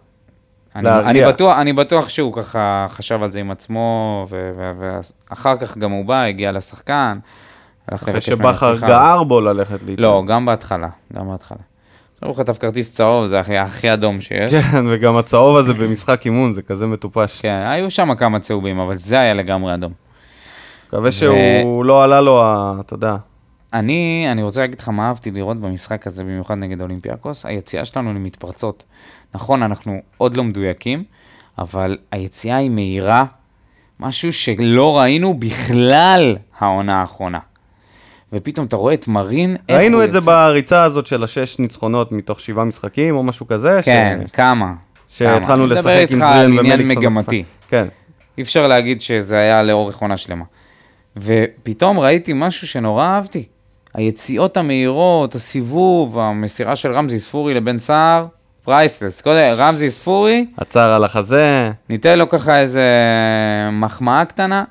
אני, להרגיע. אני, בטוח, אני בטוח שהוא ככה חשב על זה עם עצמו, ו- ו- ואחר כך גם הוא בא, הגיע לשחקן. הלך אחרי לבקש ממנו שבכר סליחה. גער בו ללכת להתאמן. לא, גם בהתחלה, גם בהתחלה. עכשיו הוא חטף כרטיס צהוב, זה הכי, הכי אדום שיש. כן, וגם הצהוב הזה במשחק אימון, זה כזה מטופש. כן, היו שם כמה צהובים, אבל זה היה לגמרי אדום. מקווה שהוא לא עלה לו, ה- אתה יודע. אני, אני רוצה להגיד לך מה אהבתי לראות במשחק הזה, במיוחד נגד אולימפיאקוס, היציאה שלנו למתפרצות. נכון, אנחנו עוד לא מדויקים, אבל היציאה היא מהירה, משהו שלא ראינו בכלל העונה האחרונה. ופתאום אתה רואה את מרין, איך הוא ראינו את זה יצא- בריצה הזאת של השש ניצחונות מתוך שבעה משחקים או משהו כזה. ש- כן, כמה. כמה. שהתחלנו אני לשחק מדבר עם איתך זריאן על ומליקסון. עניין מגמתי. כן, אי אפשר להגיד שזה היה לאורך עונה שלמה. ופתאום ראיתי משהו שנורא אהבתי. היציאות המהירות, הסיבוב, המסירה של רמזי ספורי לבן סער, פרייסלס. קודם, רמזי ספורי, הצער על החזה, ניתן לו ככה איזה מחמאה קטנה.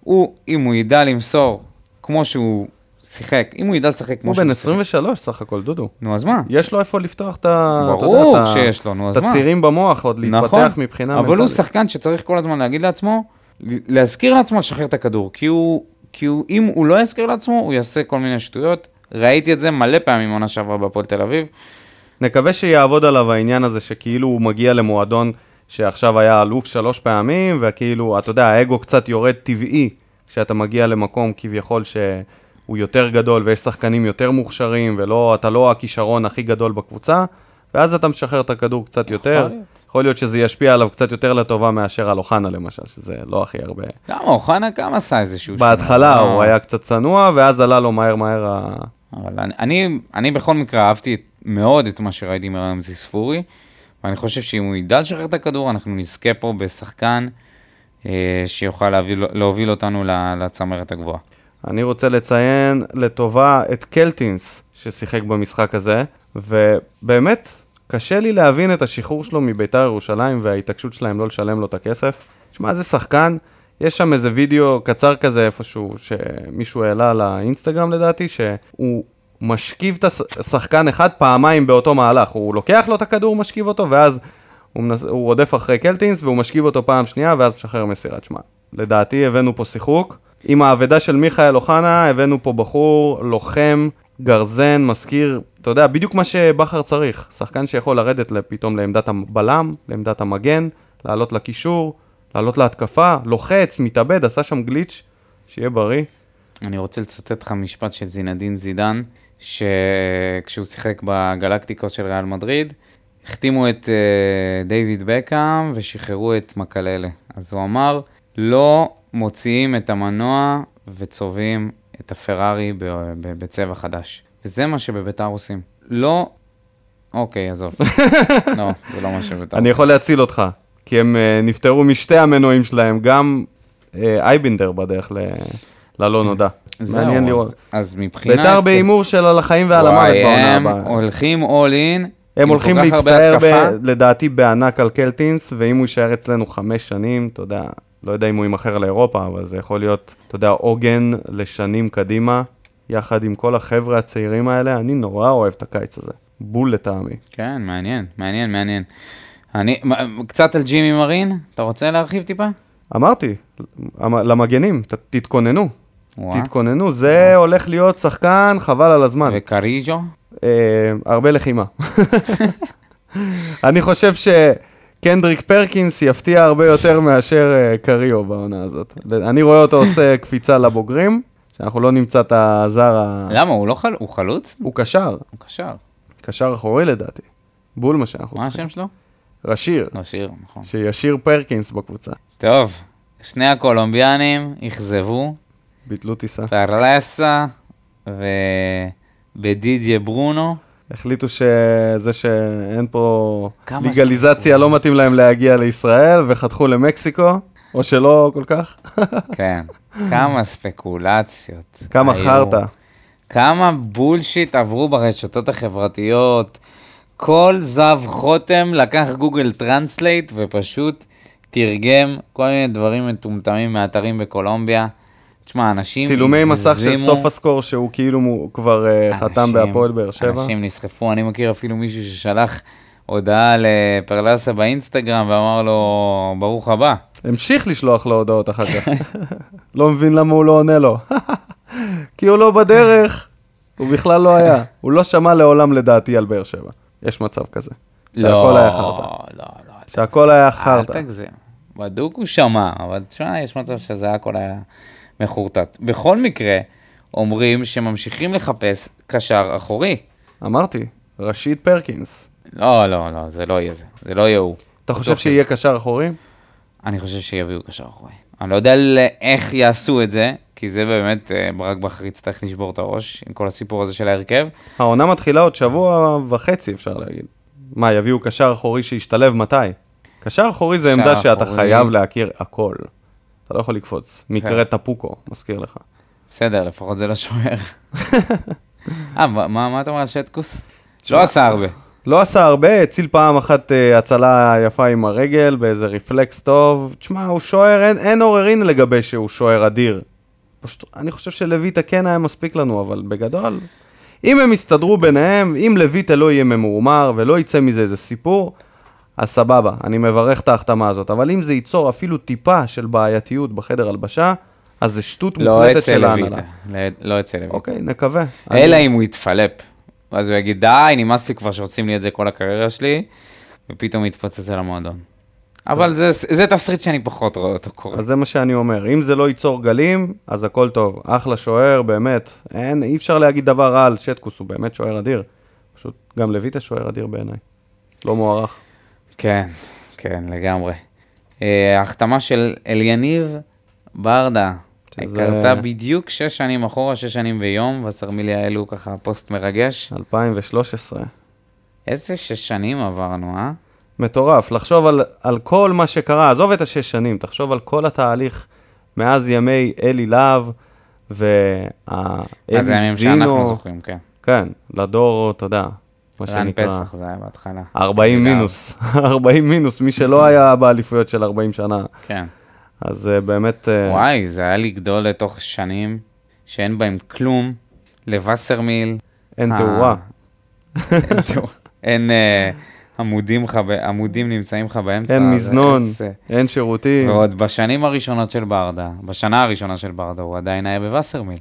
הוא, אם הוא ידע למסור כמו שהוא שיחק, אם הוא ידע לשחק כמו הוא שהוא בן שיחק. 23 סך הכל, דודו. נו, אז מה? יש לו איפה לפתוח את ה... אתה יודע, ברור את ה- שיש לו, נו, אז את מה? הצירים במוח, עוד נכון, להתפתח מבחינה אבל מנטלית. הוא שחקן שצריך כל הזמן להגיד לעצמו, להזכיר לעצמו לשחרר את הכדור, כי הוא, כי הוא, אם הוא לא יזכיר לעצמו, הוא יעשה כל מיני שטויות. ראיתי את זה מלא פעמים עונה שעברה בהפועל תל אביב. נקווה שיעבוד עליו העניין הזה שכאילו הוא מגיע למועדון שעכשיו היה אלוף שלוש פעמים, וכאילו, אתה יודע, האגו קצת יורד טבעי כשאתה מגיע למקום כביכול שהוא יותר גדול ויש שחקנים יותר מוכשרים, ואתה לא הכישרון הכי גדול בקבוצה, ואז אתה משחרר את הכדור קצת יכול יותר. להיות. יכול להיות שזה ישפיע עליו קצת יותר לטובה מאשר על אוחנה למשל, שזה לא הכי הרבה. למה, אוחנה גם עשה איזשהו שינוי. בהתחלה לא, הוא היה קצת צנוע, ואז עלה לו מהר מהר ה... אבל אני, אני, אני בכל מקרה אהבתי את, מאוד את מה שראיתי מרמזי ספורי, ואני חושב שאם הוא ידע לשחרר את הכדור, אנחנו נזכה פה בשחקן אה, שיוכל להביא, להוביל אותנו ל- לצמרת הגבוהה. אני רוצה לציין לטובה את קלטינס, ששיחק במשחק הזה, ובאמת, קשה לי להבין את השחרור שלו מביתר ירושלים וההתעקשות שלהם לא לשלם לו את הכסף. שמע, זה שחקן, יש שם איזה וידאו קצר כזה איפשהו, שמישהו העלה לאינסטגרם לדעתי, שהוא משכיב את השחקן אחד פעמיים באותו מהלך. הוא לוקח לו את הכדור, משכיב אותו, ואז הוא, מנס... הוא רודף אחרי קלטינס, והוא משכיב אותו פעם שנייה, ואז משחרר מסירת שמע. לדעתי הבאנו פה שיחוק. עם האבדה של מיכאל אוחנה, הבאנו פה בחור, לוחם, גרזן, מזכיר, אתה יודע, בדיוק מה שבכר צריך. שחקן שיכול לרדת פתאום לעמדת הבלם, לעמדת המגן, לעלות לקישור, לעלות להתקפה, לוחץ, מתאבד, עשה שם גליץ', שיהיה בריא. אני רוצה לצטט לך משפט של זינדין זידן, שכשהוא שיחק בגלקטיקוס של ריאל מדריד, החתימו את אה, דיוויד בקאם ושחררו את מקללה. אז הוא אמר, לא מוציאים את המנוע וצובעים את הפרארי ב- ב- בצבע חדש. וזה מה שבביתר עושים. לא... אוקיי, עזוב. לא, זה לא מה שביתר אני עושים. יכול להציל אותך, כי הם אה, נפטרו משתי המנועים שלהם, גם אה, אייבינדר בדרך ל... ללא נודע. זהו, מעניין אז- לראות. אז מבחינת... ביתר בהימור של על החיים ועל המוות כן. וואי, בעונה הם הבאה. הולכים all in. עם הם הולכים כל כך הרבה להצטער, ב... התקפה. לדעתי, בענק על קלטינס, ואם הוא יישאר אצלנו חמש שנים, אתה יודע, לא יודע אם הוא יימכר לאירופה, אבל זה יכול להיות, אתה יודע, עוגן לשנים קדימה, יחד עם כל החבר'ה הצעירים האלה, אני נורא אוהב את הקיץ הזה. בול לטעמי. כן, מעניין, מעניין, מעניין. אני, מה- קצת על ג'ימי מרין, אתה רוצה להרחיב טיפה? אמרתי, המ- למגנים, ת, תתכוננו, וואה. תתכוננו, זה הולך להיות שחקן, חבל על הזמן. וקריג'ו? אה, הרבה לחימה. אני חושב שקנדריק פרקינס יפתיע הרבה יותר מאשר אה, קריו בעונה הזאת. אני רואה אותו עושה קפיצה לבוגרים, שאנחנו לא נמצא את הזר ה... למה, הוא לא חלוץ? הוא חלוץ? הוא קשר, הוא קשר. קשר אחורי לדעתי. בול מה שאנחנו מה צריכים. השם שלו? רשיר, לא, שיר, נכון. שישיר פרקינס בקבוצה. טוב, שני הקולומביאנים אכזבו, ביטלו טיסה. פרלסה ובדידיה ברונו. החליטו שזה שאין פה כמה לגליזציה לא מתאים להם להגיע לישראל, וחתכו למקסיקו, או שלא כל כך. כן, כמה ספקולציות. כמה היו. חרטא. כמה בולשיט עברו ברשתות החברתיות. כל זב חותם לקח גוגל טרנסלייט ופשוט תרגם כל מיני דברים מטומטמים מאתרים בקולומביה. תשמע, אנשים צילומי מסך של הגזימו. סוף הסקור שהוא כאילו מו- כבר אה, חתם אנשים- בהפועל באר שבע. אנשים נסחפו, אני מכיר אפילו מישהו ששלח הודעה לפרלסה באינסטגרם ואמר לו, ברוך הבא. המשיך לשלוח לו הודעות אחר כך. לא מבין למה הוא לא עונה לו. כי הוא לא בדרך, הוא בכלל לא היה. הוא לא שמע לעולם לדעתי על באר שבע. יש מצב כזה. שהכל היה חרטא. לא, לא. שהכל היה אל חרטא. תגזים. בדוק הוא שמע, אבל תשמע, יש מצב שזה הכל היה מחורטט. בכל מקרה, אומרים שממשיכים לחפש קשר אחורי. אמרתי, רשיד פרקינס. לא, לא, לא, זה לא יהיה זה. זה לא יהיה הוא. אתה חושב שיהיה קשר אחורי? אני חושב שיביאו קשר אחורי. אני לא יודע ל- איך יעשו את זה, כי זה באמת, אה, ברק בכר יצטרך לשבור את הראש עם כל הסיפור הזה של ההרכב. העונה מתחילה עוד שבוע וחצי, אפשר להגיד. מה, יביאו קשר אחורי שישתלב מתי? קשר אחורי זה קשר עמדה שאתה אחורי. כן. חייב להכיר הכל. אתה לא יכול לקפוץ. מקרה טפוקו, מזכיר לך. בסדר, לפחות זה לא שוער. אה, מה, מה מה אתה אומר על שטקוס? לא עשה הרבה. לא עשה הרבה, הציל פעם אחת אה, הצלה יפה עם הרגל, באיזה רפלקס טוב. תשמע, הוא שוער, אין, אין עוררין לגבי שהוא שוער אדיר. פשוט, אני חושב שלויטה כן היה מספיק לנו, אבל בגדול... אם הם יסתדרו ביניהם, אם לויטה לא יהיה ממורמר ולא יצא מזה איזה סיפור, אז סבבה, אני מברך את ההחתמה הזאת. אבל אם זה ייצור אפילו טיפה של בעייתיות בחדר הלבשה, אז זה שטות לא מוחלטת אצל של ההנהלה. לויטה. ל- לא אצל לויטה. אוקיי, נקווה. אלא אני- אם הוא יתפלפ. ואז הוא יגיד, די, נמאס לי כבר שעושים לי את זה כל הקריירה שלי, ופתאום יתפוצץ על המועדון. אבל זה, זה תסריט שאני פחות רואה אותו קורה. אז זה מה שאני אומר, אם זה לא ייצור גלים, אז הכל טוב. אחלה שוער, באמת. אין, אי אפשר להגיד דבר רע על שטקוס, הוא באמת שוער אדיר. פשוט גם לויטה שוער אדיר בעיניי. לא מוערך. כן, כן, לגמרי. אה, ההחתמה של אליניב ברדה, שזה- קרתה בדיוק שש שנים אחורה, שש שנים ויום, והסרמיליה האלו ככה פוסט מרגש. 2013. איזה שש שנים עברנו, אה? מטורף, לחשוב על, על כל מה שקרה, עזוב את השש שנים, תחשוב על כל התהליך מאז ימי אלי להב אז זה והאלי הימים שאנחנו זינו, זוכרים, כן. כן, לדור, אתה יודע, מה רן שנקרא. פסח זה היה בהתחלה. 40 לגמרי. מינוס, 40 מינוס, מי שלא היה באליפויות של 40 שנה. כן. אז אה, באמת, אה, וואי, זה היה לגדול לתוך שנים שאין בהם כלום, לווסרמיל, אין אה. תאורה. אין תאורה, אין אה, עמודים לך ב- עמודים נמצאים לך באמצע. אין זה מזנון, איזה- אין שירותים. ועוד בשנים הראשונות של ברדה, בשנה הראשונה של ברדה, הוא עדיין היה בווסרמיל.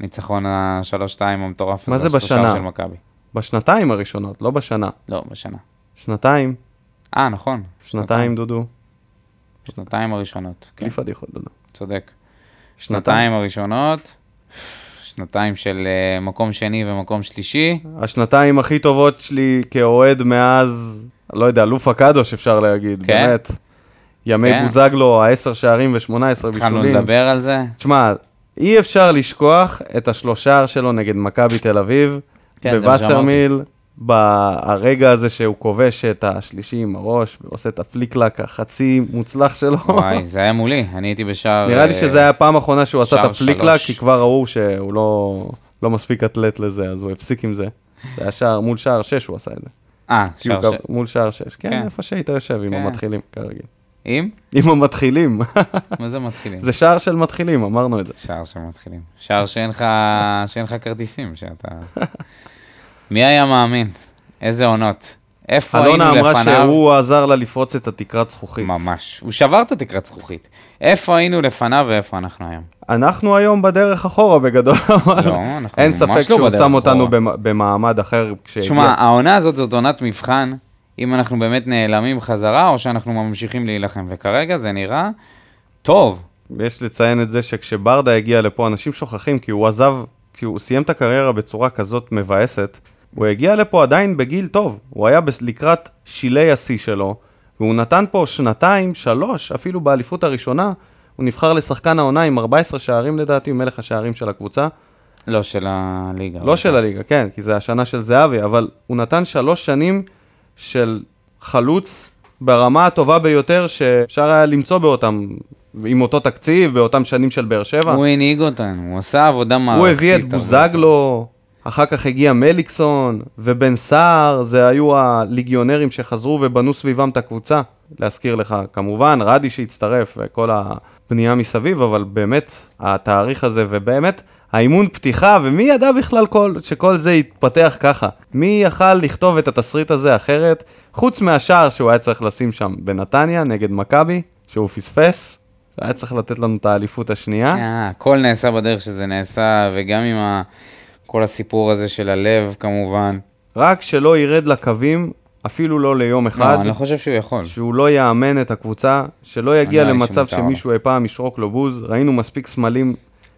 ניצחון ה-3-2 המטורף מה הזה, זה השלושה בשנה? של מכבי. בשנתיים הראשונות, לא בשנה. לא, בשנה. שנתיים, אה, נכון. שנתיים, דודו. כן. שנתיים הראשונות. כן, בלי פדיחות, דודו. צודק. שנתיים הראשונות, שנתיים של אה, מקום שני ומקום שלישי. השנתיים הכי טובות שלי כאוהד מאז, לא יודע, אלוף הקדוש אפשר להגיד, כן. באמת. ימי כן. בוזגלו, העשר שערים ושמונה עשרה בישולים. התחלנו לדבר על זה. תשמע, אי אפשר לשכוח את השלושר שלו נגד מכבי תל אביב, כן, זה מה בווסרמיל, ברגע הזה שהוא כובש את השלישי עם הראש, ועושה את הפליקלק החצי מוצלח שלו. וואי, זה היה מולי, אני הייתי בשער... נראה לי אה, שזה היה הפעם האחרונה שהוא עשה את שער הפליקלק, שלוש. כי כבר ראו שהוא לא, לא מספיק אתלט לזה, אז הוא הפסיק עם זה. זה היה שער, מול שער 6 הוא עשה את זה. אה, כי הוא שער ש... גם- מול שער 6. כן, כן. איפה שהיית יושב, עם כן. המתחילים, כרגיל. עם? עם המתחילים. מה זה מתחילים? זה שער של מתחילים, אמרנו את זה. שער שמתחילים. שער שאין לך, שאין לך כרטיסים, שאתה... מי היה מאמין? איזה עונות. איפה היינו לפניו? אלונה אמרה שהוא עזר לה לפרוץ את התקרת זכוכית. ממש. הוא שבר את התקרת זכוכית. איפה היינו לפניו ואיפה אנחנו היום? אנחנו היום בדרך אחורה בגדול, אבל לא, אנחנו אין ממש ספק לא שהוא בדרך שם אותנו אחורה. במ- במעמד אחר כשהגיע. תשמע, העונה הזאת זאת עונת מבחן, אם אנחנו באמת נעלמים חזרה, או שאנחנו ממשיכים להילחם. וכרגע זה נראה טוב. יש לציין את זה שכשברדה הגיע לפה, אנשים שוכחים כי הוא עזב, כי הוא סיים את הקריירה בצורה כזאת מבאסת. הוא הגיע לפה עדיין בגיל טוב, הוא היה בס- לקראת שילי השיא שלו, והוא נתן פה שנתיים, שלוש, אפילו באליפות הראשונה, הוא נבחר לשחקן העונה עם 14 שערים לדעתי, הוא מלך השערים של הקבוצה. לא של הליגה. לא של הליגה, כן, כי זה השנה של זהבי, אבל הוא נתן שלוש שנים של חלוץ ברמה הטובה ביותר שאפשר היה למצוא באותם, עם אותו תקציב, באותם שנים של באר שבע. הוא הנהיג אותנו, הוא עשה עבודה מערכתית. הוא הביא את הרבה בוזגלו, אחר כך הגיע מליקסון, ובן סער, זה היו הליגיונרים שחזרו ובנו סביבם את הקבוצה. להזכיר לך, כמובן, רדי שהצטרף וכל הבנייה מסביב, אבל באמת, התאריך הזה, ובאמת, האימון פתיחה, ומי ידע בכלל כל, שכל זה יתפתח ככה? מי יכל לכתוב את התסריט הזה אחרת, חוץ מהשער שהוא היה צריך לשים שם בנתניה, נגד מכבי, שהוא פספס, היה צריך לתת לנו את האליפות השנייה. אה, הכל נעשה בדרך שזה נעשה, וגם עם ה... כל הסיפור הזה של הלב, כמובן. רק שלא ירד לקווים, אפילו לא ליום לא, אחד, אני לא חושב שהוא יכול. שהוא לא יאמן את הקבוצה, שלא יגיע אני לא למצב איש שמותר לו. שמישהו אי פעם ישרוק לו בוז. ראינו מספיק סמלים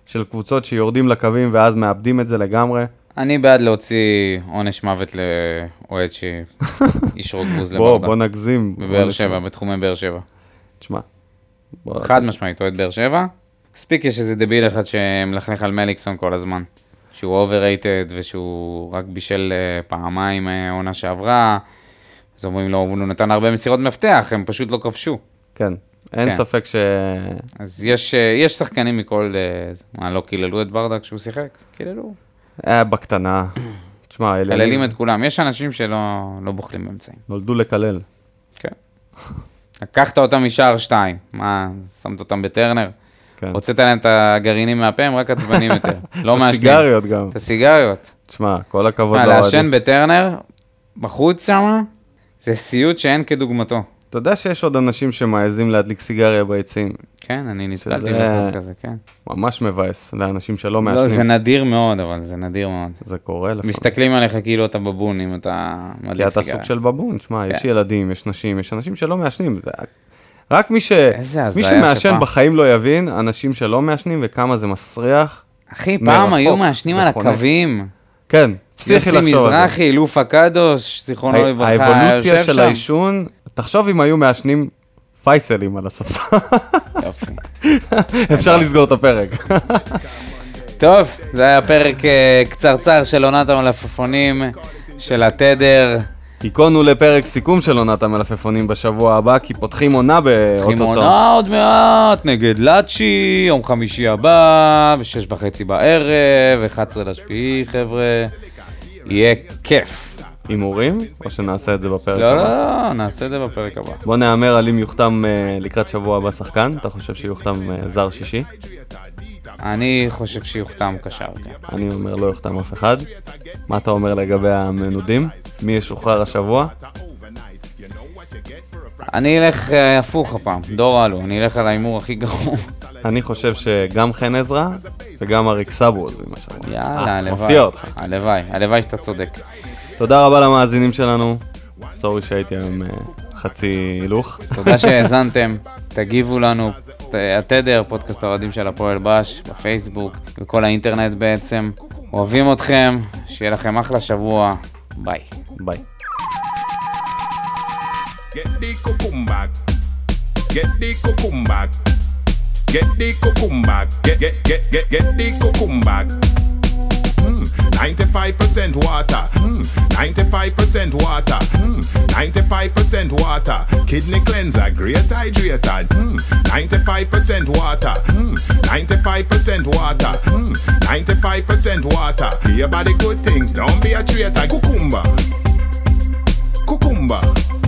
של קבוצות שיורדים לקווים ואז מאבדים את זה לגמרי. אני בעד להוציא עונש מוות לאוהד שישרוק בוז בוא, לברדה. בוא נגזים. בבאר בוא שבע, נשמע. בתחומי באר שבע. תשמע. בוא, חד משמעית, אוהד באר שבע. מספיק יש איזה דביל אחד שמלכלך על מליקסון כל הזמן. שהוא overrated ושהוא רק בישל אה, פעמיים אה, עונה שעברה. אז אומרים לו, הוא נתן הרבה מסירות מפתח, הם פשוט לא כבשו. כן, אין כן. ספק ש... אז יש, אה, יש שחקנים מכל... אה, מה, לא קיללו את ברדה כשהוא שיחק? קיללו. היה בקטנה. תשמע, אלה מקללים את כולם. יש אנשים שלא לא בוחלים באמצעים. נולדו לקלל. כן. לקחת אותם משער שתיים. מה, שמת אותם בטרנר? כן. הוצאת להם את הגרעינים מהפה, הם רק עצבנים יותר. לא את מעשנים. הסיגריות גם. את הסיגריות. תשמע, כל הכבוד מה, לאוהדים. לעשן בטרנר, בחוץ שמה, זה סיוט שאין כדוגמתו. אתה יודע שיש עוד אנשים שמעזים להדליק סיגריה ביציעים. כן, אני שזה- נתקלתי באחד כזה, כן. ממש מבאס לאנשים שלא לא, זה מעשנים. נדיר מאוד, אבל זה נדיר מאוד. זה קורה לפעמים. מסתכלים עליך כאילו אתה בבון אם אתה כי מדליק אתה סיגריה. סוג של בבון, שמע, יש כן. ילדים, יש נשים, יש אנשים שלא מעשנים. רק מי ש... איזה מי הזיה שמעשן שפעם. בחיים לא יבין, אנשים שלא מעשנים וכמה זה מסריח. אחי, פעם מרחוק, היו מעשנים על מכונן. הקווים. כן, פסיכי יוסי לחשוב על זה. מזרחי, לוף הקדוש, זיכרונו הא- לברכה, האבולוציה יושב של שם. העישון, תחשוב אם היו מעשנים פייסלים על הספסל, יופי. אפשר לסגור את הפרק. טוב, זה היה פרק אה, קצרצר של עונת המלפפונים, של התדר. היכונו לפרק סיכום של עונת המלפפונים בשבוע הבא, כי פותחים עונה באו-טו-טו. חימונה עוד מעט, נגד לאצ'י, יום חמישי הבא, בשש וחצי בערב, 11 לשביעי, חבר'ה. יהיה כיף. הימורים? או שנעשה את זה בפרק לא, הבא? לא, לא, נעשה את זה בפרק הבא. בוא נהמר על אם יוחתם אה, לקראת שבוע הבא שחקן, אתה חושב שיוחתם אה, זר שישי? אני חושב שיוחתם קשר. כן. אני אומר לא יוחתם אף אחד. מה אתה אומר לגבי המנודים? מי ישוחרר השבוע? אני אלך אה, הפוך הפעם, דור אלו, אני אלך על ההימור הכי גרוע. אני חושב שגם חן עזרא וגם אריק סאבו עוזבים השבוע. יאללה, הלוואי. אה, מפתיע אותך. הלוואי, הלוואי שאתה צודק. תודה רבה למאזינים שלנו. סורי שהייתי היום אה, חצי הילוך. תודה שהאזנתם, תגיבו לנו, ת- התדר, פודקאסט האוהדים של הפועל בש, בפייסבוק, בכל האינטרנט בעצם. אוהבים אתכם, שיהיה לכם אחלה שבוע, ביי. ביי. Get the cucumba. Get the cucumba. Get the cucumba. Get get get get get the cucumba. Mm, 95% water. Mm, 95% water. Mm, 95% water. Kidney cleanser, great hydrator. Mm, 95% water. Mm, 95% water. Mm, 95% water. Hear about the good things. Don't be a traitor. Cucumba. Cucumba.